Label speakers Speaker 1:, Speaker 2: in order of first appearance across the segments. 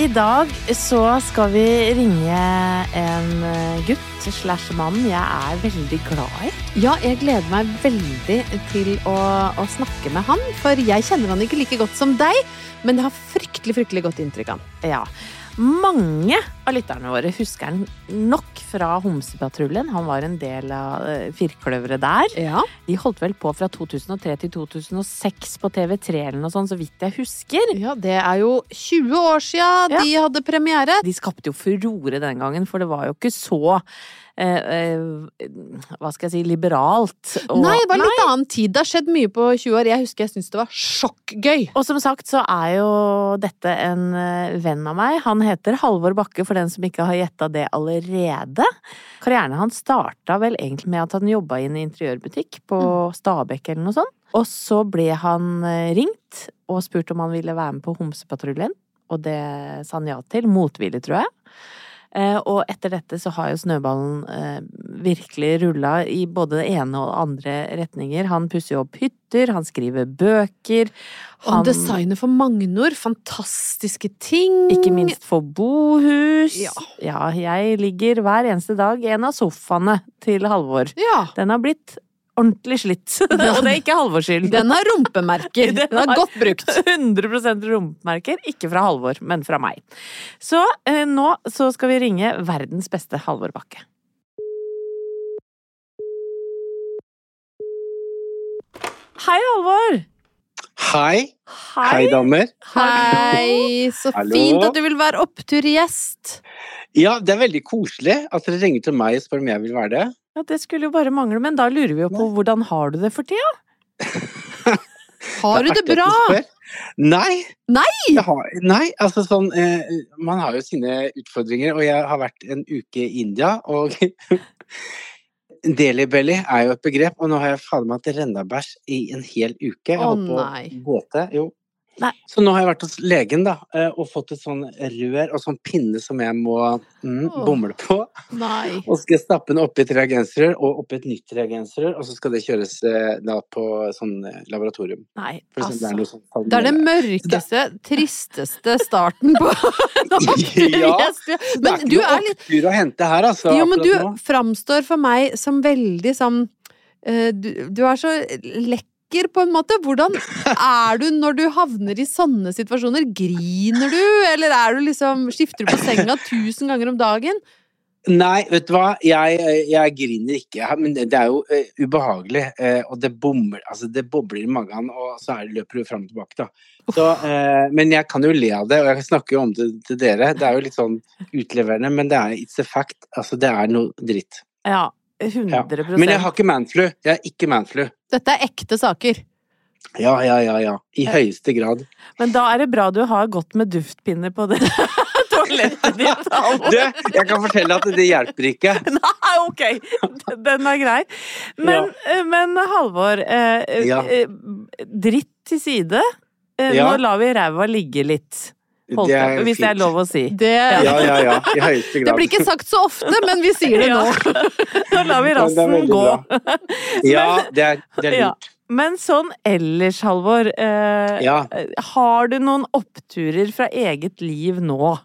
Speaker 1: I dag så skal vi ringe en eh, gutt slash mann jeg er veldig glad i.
Speaker 2: Ja, jeg gleder meg veldig til å, å snakke med han, for jeg kjenner han ikke like godt som deg, men jeg har fryktelig, fryktelig godt inntrykk av han.
Speaker 1: Ja. Mange av lytterne våre husker han nok fra Homsepatruljen. Han var en del av eh, firkløveret der.
Speaker 2: Ja.
Speaker 1: De holdt vel på fra 2003 til 2006 på TV3 eller noe sånt, så vidt jeg husker.
Speaker 2: det er jo 20 år siden de hadde premiere.
Speaker 1: De skapte jo furore den gangen, for det var jo ikke så eh, eh, Hva skal jeg si liberalt. og-
Speaker 2: Nei, det var en litt annen tid. Det har skjedd mye på 20 år. Jeg husker jeg syntes det var sjokkgøy.
Speaker 1: Og som sagt så er jo dette en eh, venn av meg. Han heter Halvor Bakke, for den som ikke har gjetta det allerede. Karrieren hans starta vel egentlig med at han jobba i en interiørbutikk på Stabekk eller noe sånt. Og så ble han eh, ringt og spurt om han ville være med på Homsepatruljen, og det sa han ja til. Motvillig, tror jeg. Eh, Og etter dette så har jo snøballen eh, virkelig rulla i både det ene og det andre retninger. Han pusser jo opp hytter, han skriver bøker.
Speaker 2: Og
Speaker 1: han-
Speaker 2: designet for Magnor, fantastiske ting.
Speaker 1: ikke minst for bohus.
Speaker 2: Ja.
Speaker 1: ja, jeg ligger hver eneste dag i en av sofaene til Halvor.
Speaker 2: Ja.
Speaker 1: Den har blitt ordentlig slitt, og det er ikke Halvors skyld.
Speaker 2: Den har rumpemerker. Den er godt brukt.
Speaker 1: 100 rumpemerker, ikke fra Halvor, men fra meg. Så eh, nå så skal vi ringe verdens beste Halvor Bakke. Hei, Halvor!
Speaker 3: Hei. Hei, damer.
Speaker 2: Hei, så
Speaker 3: Hallo.
Speaker 2: fint at du vil være oppturgjest.
Speaker 3: Ja, det er veldig koselig at dere ringer til meg og spør om jeg vil være det.
Speaker 1: Ja, det skulle jo bare mangle, men da lurer vi jo på hvordan har du det for tida?
Speaker 2: Har du det
Speaker 3: artig at
Speaker 2: bra?
Speaker 3: spør. Nei.
Speaker 2: Nei?
Speaker 3: Jeg har, nei, altså sånn eh, Man har jo sine utfordringer, og jeg har vært en uke i India, og Delibelly er jo et begrep, og nå har jeg fader meg hatt rennabæsj i en hel uke. Jeg
Speaker 2: Å,
Speaker 3: holdt på å
Speaker 2: nei.
Speaker 3: gåte, jo.
Speaker 1: Nei.
Speaker 3: Så nå har jeg vært hos legen da, eh, og fått et sånn rør og sånn pinne som jeg må mm,
Speaker 2: Åh.
Speaker 3: bomle på.
Speaker 2: Nei.
Speaker 3: Og skal jeg stappe den oppi et reagensrør og oppi et nytt reagensrør, og så skal det kjøres eh, da på sånn eh, laboratorium.
Speaker 1: Nei,
Speaker 3: For eksempel,
Speaker 1: altså.
Speaker 3: det er noe sånn
Speaker 2: Det er den mørkeste, tristeste starten på en oppturgjest.
Speaker 3: Det er
Speaker 2: Men
Speaker 3: ikke
Speaker 2: du
Speaker 3: noe
Speaker 2: er litt
Speaker 3: opptur å hente her, altså.
Speaker 2: Jo, men du
Speaker 3: akkurat nå.
Speaker 2: framstår for meg som veldig sånn eh, Du, du er så lekker, på en måte. Hvordan er du når du havner i sånne situasjoner? Griner du, eller er du liksom Skifter du på senga tusen ganger om dagen?
Speaker 3: Nei, vet du hva, jeg, eh, jeg griner ikke, jeg- men det er jo eh, ubehagelig. eh, og det bomler, altså det bobler i magen, og så er det, løper du fram og tilbake, da. Så, eh, men jeg kan jo le av det, og jeg snakker jo om det til dere. Det er jo litt sånn utleverende, men det er it's a fact. Altså, det er noe dritt.
Speaker 1: Ja, 100
Speaker 3: Men jeg har ikke manflu. Jeg er ikke manflu.
Speaker 2: Dette er ekte saker.
Speaker 3: Ja, ja, ja, ja. I høyeste grad.
Speaker 1: Men da er det bra du har gått med duftpinner på det toalettet ditt. Halvor.
Speaker 3: Du, jeg kan fortelle at det hjelper ikke.
Speaker 1: Nei, Ah, ok! Den er grei. Men, eh, men Halvor, eh, eh,
Speaker 3: Ja.
Speaker 1: eh, dritt til side. Eh,
Speaker 3: Ja.
Speaker 1: Nå lar vi ræva ligge litt, holdt
Speaker 3: Det
Speaker 1: jeg på, hvis det er
Speaker 3: fint.
Speaker 1: lov å si.
Speaker 2: Det,
Speaker 3: Ja, ja, ja. I høyeste
Speaker 2: det
Speaker 3: grad.
Speaker 2: blir ikke sagt så ofte, men vi sier det
Speaker 1: Ja.
Speaker 2: nå.
Speaker 1: Nå lar vi
Speaker 3: Ja, det er
Speaker 1: rassen
Speaker 3: veldig
Speaker 1: gå.
Speaker 3: bra. Ja, det er, det er
Speaker 1: Ja.
Speaker 3: lurt.
Speaker 1: Men sånn ellers, Halvor, eh,
Speaker 3: Ja.
Speaker 1: har du noen oppturer fra eget liv nå?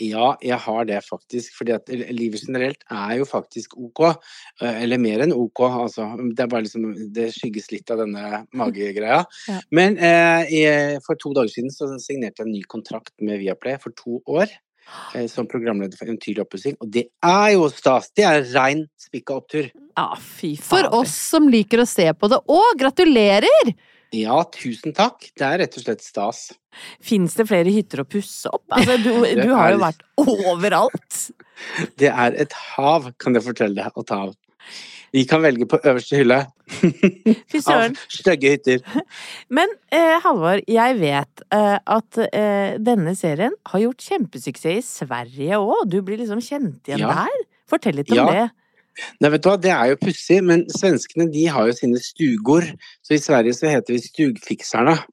Speaker 3: Ja, jeg har det faktisk. Fordi at livet generelt er jo faktisk ok. eh, Eller mer enn ok, altså. Det er bare liksom Det skygges litt av denne magegreia.
Speaker 2: Ja.
Speaker 3: Men eh, jeg, for to dager siden så signerte jeg en ny kontrakt med Viaplay for to år. eh, Som programleder for Eventyrlig oppussing. Og det er jo stas! Det er rein spikka opptur.
Speaker 1: Ja, Ah, fy
Speaker 2: For
Speaker 1: fader.
Speaker 2: oss som liker å se på det. Å, gratulerer!
Speaker 3: Ja, tusen takk. Det er rett og slett stas.
Speaker 1: Fins det flere hytter å pusse opp? Altså, du,
Speaker 3: Det
Speaker 1: du har
Speaker 3: er-
Speaker 1: jo vært overalt.
Speaker 3: Det er et hav, kan jeg fortelle deg, å ta av. Vi kan velge på øverste hylle
Speaker 1: Fy søren.
Speaker 3: av stygge hytter.
Speaker 1: Men eh, Halvor, jeg vet eh, at eh, denne serien har gjort kjempesuksess i Sverige òg. Du blir liksom kjent igjen
Speaker 3: Ja.
Speaker 1: der. Fortell litt om
Speaker 3: Ja.
Speaker 1: det.
Speaker 3: Nei, vet du hva, Det er jo pussig, men svenskene de har jo sine stugord. Så i Sverige så heter vi Stugfikserne.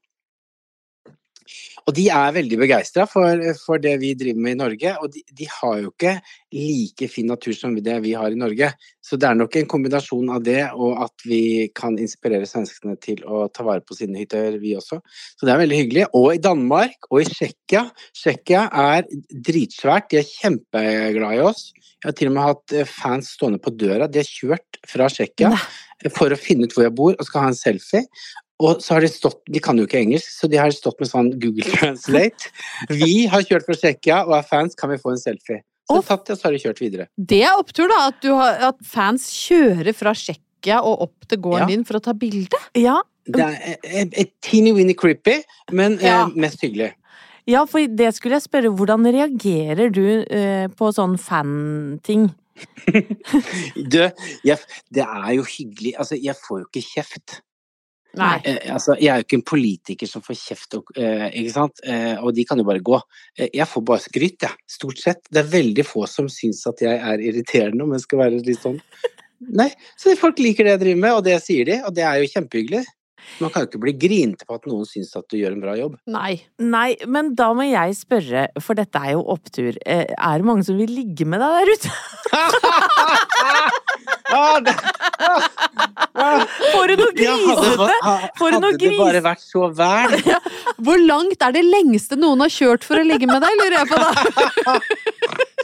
Speaker 3: Og de er veldig begeistra for, for det vi driver med i Norge. Og de, de har jo ikke like fin natur som det vi har i Norge. Så det er nok en kombinasjon av det og at vi kan inspirere svenskene til å ta vare på sine hytter, vi også. Så det er veldig hyggelig. Og i Danmark og i Tsjekkia. Tsjekkia er dritsvært. De er kjempeglade i oss. Jeg har til og med hatt eh, fans stående på døra. De har kjørt fra Tsjekkia for å finne ut hvor jeg bor, og skal ha en selfie. Og så har de stått De kan jo ikke engelsk, så de har stått med sånn Google Translate. Vi har kjørt fra Tsjekkia og er fans, kan vi få en selfie? Så
Speaker 2: Å.
Speaker 3: tatt jeg, så har de kjørt videre.
Speaker 2: Det er opptur, da. At, du har, at fans kjører fra Tsjekkia og opp til gården
Speaker 3: Ja.
Speaker 2: din for å ta bilde.
Speaker 1: Ja,
Speaker 3: Det er eh, eh, eh, teeny-weeny creepy, men eh,
Speaker 2: Ja.
Speaker 3: mest hyggelig.
Speaker 1: ja, for det skulle jeg spørre. Hvordan reagerer du eh, på sånn fan-ting?
Speaker 3: Du, jeg, det er jo hyggelig. Altså, jeg får jo ikke kjeft.
Speaker 1: Nei.
Speaker 3: Eh, altså, jeg er jo ikke en politiker som får kjeft, og, eh, ikke sant? Eh, og de kan jo bare gå. Eh, jeg får bare skryt, jeg. Stort sett. Det er veldig få som syns at jeg er irriterende, om jeg skal være litt sånn. Nei, så folk liker det jeg driver med, og det sier de, og det er jo kjempehyggelig. Man kan jo ikke bli grinte på at noen syns at du gjør en bra jobb.
Speaker 2: Nei.
Speaker 1: Nei, men da må jeg spørre, for dette er jo opptur. Eh, er det mange som vil ligge med deg der ute?
Speaker 3: Ah, det, ah, ah.
Speaker 1: Får du noe
Speaker 3: Ja, hadde,
Speaker 1: grisete? For noe
Speaker 3: hadde det bare vært så vel!
Speaker 2: Hvor langt er det lengste noen har kjørt for å ligge med deg, lurer jeg på da?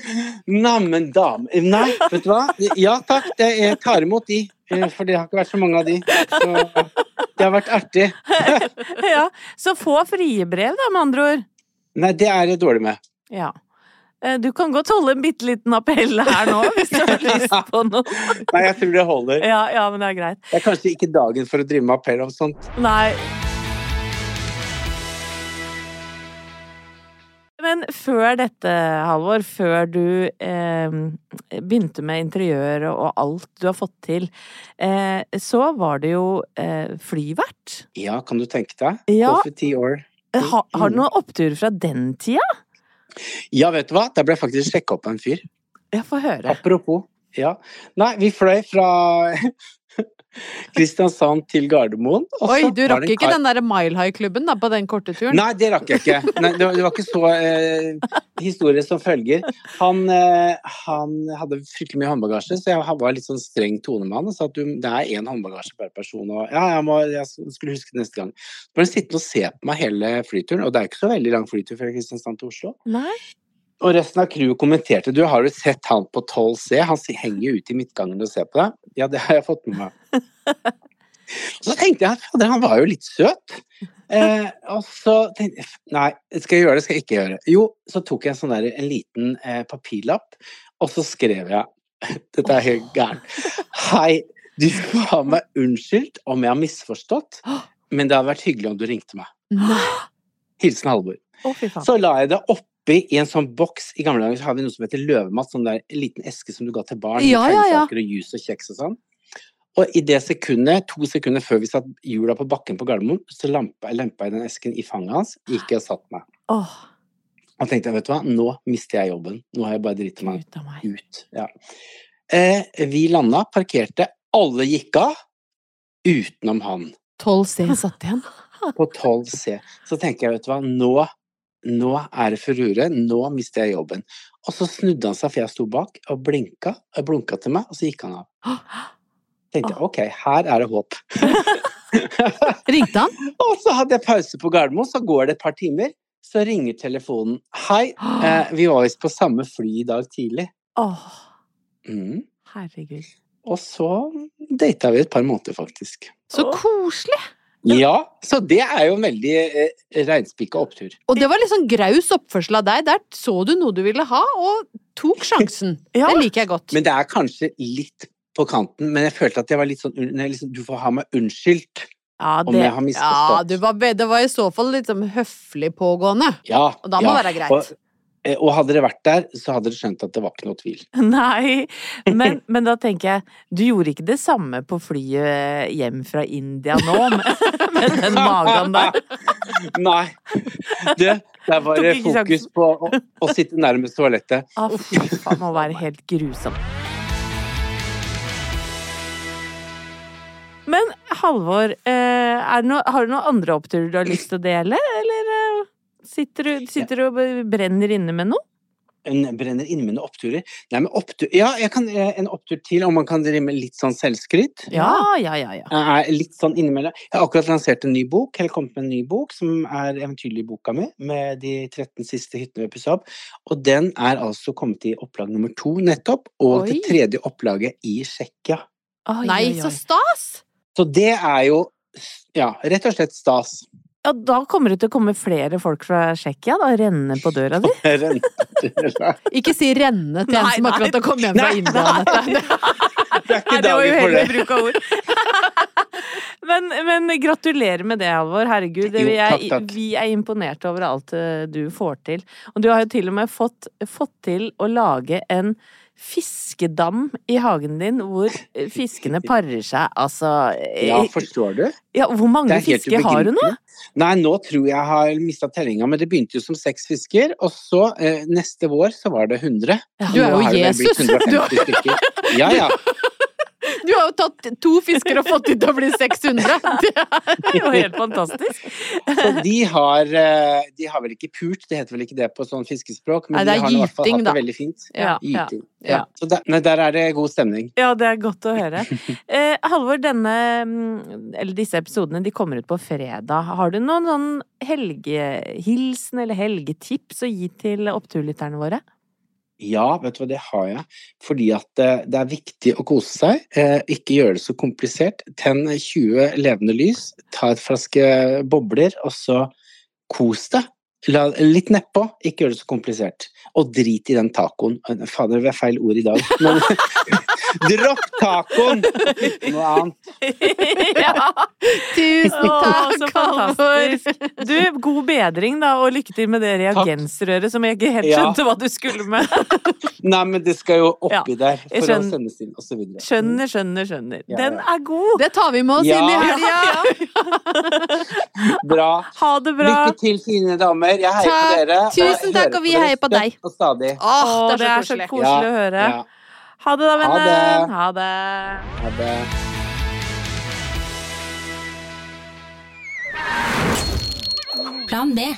Speaker 3: Neimen, dame Nei, vet du hva? Ja takk, det, jeg tar imot de. eh, For det har ikke vært så mange av de. Så det har vært artig.
Speaker 1: ja. Så få frie brev, da, med andre ord.
Speaker 3: Nei, det er jeg dårlig med.
Speaker 1: Ja. Eh, Du kan godt holde en bitte liten appell her nå, hvis du har lyst på noe.
Speaker 3: Nei, jeg tror det holder.
Speaker 1: Ja, ja, men det er greit.
Speaker 3: Det er kanskje ikke dagen for å drive med appell om sånt.
Speaker 1: Nei. Men før dette, Halvor, før du eh, begynte med interiør og alt du har fått til, eh, så var det jo eh, flyvert.
Speaker 3: Ja, kan du tenke deg?
Speaker 1: Ja.
Speaker 3: Over ti år.
Speaker 1: Ha, har du noen oppturer fra den tida?
Speaker 3: Ja, vet du hva? Der ble jeg faktisk sjekka opp av en fyr.
Speaker 1: Ja, få høre.
Speaker 3: Apropos. Ja. Nei, vi fløy fra Kristiansand til Gardermoen. og
Speaker 2: Oi,
Speaker 3: så
Speaker 2: du
Speaker 3: var det
Speaker 2: rakk
Speaker 3: en
Speaker 2: ikke
Speaker 3: kar-
Speaker 2: den der Mile High-klubben da, på den korte turen?
Speaker 3: Nei, det rakk jeg ikke. Nei, det, var, det var ikke så eh, historie som følger. Han, eh, han hadde fryktelig mye håndbagasje, så jeg var litt sånn streng tone med han og sa at du, det er én håndbagasje per person. Og ja, jeg, må, jeg skulle huske det neste gang. Så ble han sittende og se på meg hele flyturen, og det er ikke så veldig lang flytur fra Kristiansand til Oslo.
Speaker 1: Nei?
Speaker 3: Og resten av crewet kommenterte. Du har jo sett han på 12C, han s- henger jo ute i midtgangen og ser på deg. Ja, det har jeg fått med meg. Og så tenkte jeg fader, han var jo litt søt. Eh, og så tenkte jeg nei, skal jeg gjøre det, skal jeg ikke gjøre det? Jo, så tok jeg en sånn der, en liten eh, papirlapp, og så skrev jeg Dette er helt gærent. Hei, du har meg unnskyldt om jeg har misforstått, men det hadde vært hyggelig om du ringte meg.
Speaker 2: Nei.
Speaker 3: Hilsen Halvor.
Speaker 1: Å, fy faen.
Speaker 3: Så la jeg det oppi i en sånn boks. I gamle dager så har vi noe som heter løvematt, sånn der en liten eske som du ga til barn.
Speaker 2: Ja,
Speaker 3: med
Speaker 2: ja, ja.
Speaker 3: pannekaker Og jus og kjeks og sånn. Og i det sekundet, to sekunder før vi satt hjula på bakken på Gardermoen, så lampa, lempa jeg den esken i fanget hans, gikk jeg og satte meg.
Speaker 1: Åh,
Speaker 3: Og tenkte jeg, vet du hva, nå mister jeg jobben. Nå har jeg bare driti meg
Speaker 1: gud a meg.
Speaker 3: ut. Ja. Eh, vi landa, parkerte, alle gikk av, utenom han.
Speaker 2: 12C satt igjen.
Speaker 3: på 12C. Så tenker jeg, vet du hva, nå, nå er det furore, nå mister jeg jobben. Og så snudde han seg, for jeg sto bak, og blinka, og blunka til meg, og så gikk han av. Tenkte jeg, ok, her er det håp.
Speaker 2: Ringte han?
Speaker 3: og så hadde jeg pause på Gardermoen, så går det et par timer, så ringer telefonen. Hei, eh, vi var visst på samme fly i dag tidlig.
Speaker 1: Åh,
Speaker 3: Mm.
Speaker 1: herregud.
Speaker 3: Og så data vi et par måneder, faktisk.
Speaker 2: Så koselig!
Speaker 3: Ja, så det er jo en veldig eh, reinspikka opptur.
Speaker 2: Og det var litt sånn graus oppførsel av deg. Der så du noe du ville ha, og tok sjansen.
Speaker 1: Ja.
Speaker 2: Det liker jeg godt.
Speaker 3: Men det er kanskje litt på kanten, men jeg følte at jeg var litt sånn un- liksom, Du får ha meg unnskyldt
Speaker 1: Ja,
Speaker 3: om jeg har misforstått.
Speaker 2: Ja, du var, det var i så fall litt sånn høflig pågående.
Speaker 3: Ja,
Speaker 2: Og da må
Speaker 3: ja.
Speaker 2: være greit.
Speaker 3: Og, eh, og hadde dere vært der, så hadde dere skjønt at det var ikke noe tvil.
Speaker 1: Nei, men, men da tenker jeg, du gjorde ikke det samme på flyet hjem fra India nå, med, med den magen der.
Speaker 3: Nei. Det, der var
Speaker 1: Tok
Speaker 3: det
Speaker 1: ikke
Speaker 3: fokus på å, å sitte nærmest toalettet.
Speaker 1: Å, fy faen, må være helt grusom. Men Halvor, eh, er det noe, har du noen andre oppturer du har lyst til å dele, eller eh, sitter du, sitter du og brenner inne med noe?
Speaker 3: En brenner inne med noen oppturer. Nei, men opptur Ja, jeg kan, eh, en opptur til, om man kan drive med litt sånn selvskryt.
Speaker 1: Ja, ja, ja. ja.
Speaker 3: Jeg er litt sånn innimellom. Jeg har akkurat lansert en ny bok, eller kommet med en ny bok, som er eventyrlig-boka mi, med de 13 siste hyttene ved Pussab. Og den er altså kommet i opplag nummer to nettopp, og det
Speaker 2: Oi.
Speaker 3: tredje opplaget i Tsjekkia.
Speaker 1: Oi,
Speaker 2: Nei,
Speaker 1: oi,
Speaker 2: så
Speaker 1: oi.
Speaker 2: stas!
Speaker 3: Så det er jo ja, rett og slett stas.
Speaker 1: ja, da kommer det til å komme flere folk fra Tsjekkia, da, renne på døra di.
Speaker 3: Det
Speaker 2: Ikke si renne til en
Speaker 1: Nei,
Speaker 2: som akkurat
Speaker 1: nei.
Speaker 2: har kommet hjem fra
Speaker 3: Nei,
Speaker 2: India. Anette.
Speaker 3: er
Speaker 1: det
Speaker 3: ikke
Speaker 1: var
Speaker 3: dagen for
Speaker 1: uheldig
Speaker 3: det.
Speaker 1: bruk av ord. men, men gratulerer med det, Halvor. Herregud, det,
Speaker 3: Jo,
Speaker 1: vi, er,
Speaker 3: takk, takk.
Speaker 1: vi er imponert over alt eh, du får til. Og du har jo til og med fått, fått til å lage en fiskedam i hagen din hvor eh, fiskene parer seg. Altså eh,
Speaker 3: Ja, forstår du?
Speaker 1: ja, Hvor mange fisker har du nå?
Speaker 3: Nei, nå tror jeg jeg har mista tellinga, men det begynte jo som seks fisker. Og så, eh, neste vår, så var det 100.
Speaker 2: Du er
Speaker 3: Nå
Speaker 2: jo
Speaker 3: har det vel blitt
Speaker 2: Jesus! Du har,
Speaker 3: 150 stykker. Ja, ja.
Speaker 2: du har jo tatt to fisker og fått det til å bli 600! Det
Speaker 1: Det er jo helt fantastisk.
Speaker 3: Så de har, eh, de har vel ikke pult, det heter vel ikke det på sånn fiskespråk, men
Speaker 2: Nei, det
Speaker 3: de
Speaker 2: er
Speaker 3: har nå i hvert fall
Speaker 2: gyting,
Speaker 3: hatt
Speaker 2: da.
Speaker 3: det veldig fint.
Speaker 1: Ja, ja.
Speaker 3: Gyting.
Speaker 1: ja.
Speaker 3: Ja. Så der, nei, der er det god stemning.
Speaker 1: Ja, det er godt å høre. Eh, Halvor, denne, mm, eller disse episodene de kommer ut på fredag. Har du noen sånn helgehilsen eller helgetips å gi til oppturlytterne våre?
Speaker 3: Ja, vet du hva, det har jeg. Fordi at eh, det er viktig å kose seg. eh, Ikke gjøre det så komplisert. Tenn 20 levende lys, ta et flaske bobler, og så kos deg. La, litt nedpå, ikke gjør det så komplisert. Og drit i den tacoen. Fader, det er feil ord i dag. Men, dropp tacoen! Noe annet.
Speaker 1: ja!
Speaker 2: Tusen
Speaker 1: Å, så
Speaker 2: takk, Halvor!
Speaker 1: fantastisk. Du, god bedring, da, og lykke til med det reagensrøret som jeg ikke helt
Speaker 3: Ja.
Speaker 1: skjønte hva du skulle med.
Speaker 3: Nei, men det skal jo oppi der
Speaker 1: jeg
Speaker 3: for
Speaker 1: skjønner.
Speaker 3: å sendes inn, og så videre.
Speaker 1: Skjønner, skjønner, skjønner.
Speaker 3: Ja,
Speaker 1: Den
Speaker 3: ja.
Speaker 1: er god!
Speaker 2: Det tar vi med oss
Speaker 3: Ja.
Speaker 2: inn i helga!
Speaker 3: Bra.
Speaker 1: Ha det bra!
Speaker 3: Lykke til, fine damer. Jeg heier
Speaker 2: Takk.
Speaker 3: på dere.
Speaker 2: Tusen takk, og vi heier på deg.
Speaker 3: Og stadig.
Speaker 2: Åh,
Speaker 1: Å, det er så
Speaker 2: koselig.
Speaker 1: koselig å høre.
Speaker 3: Ja,
Speaker 1: Ha det, da,
Speaker 3: Ha
Speaker 1: vennen!
Speaker 3: det.
Speaker 1: Ha det!
Speaker 3: ja. Ha det.
Speaker 4: Plan B.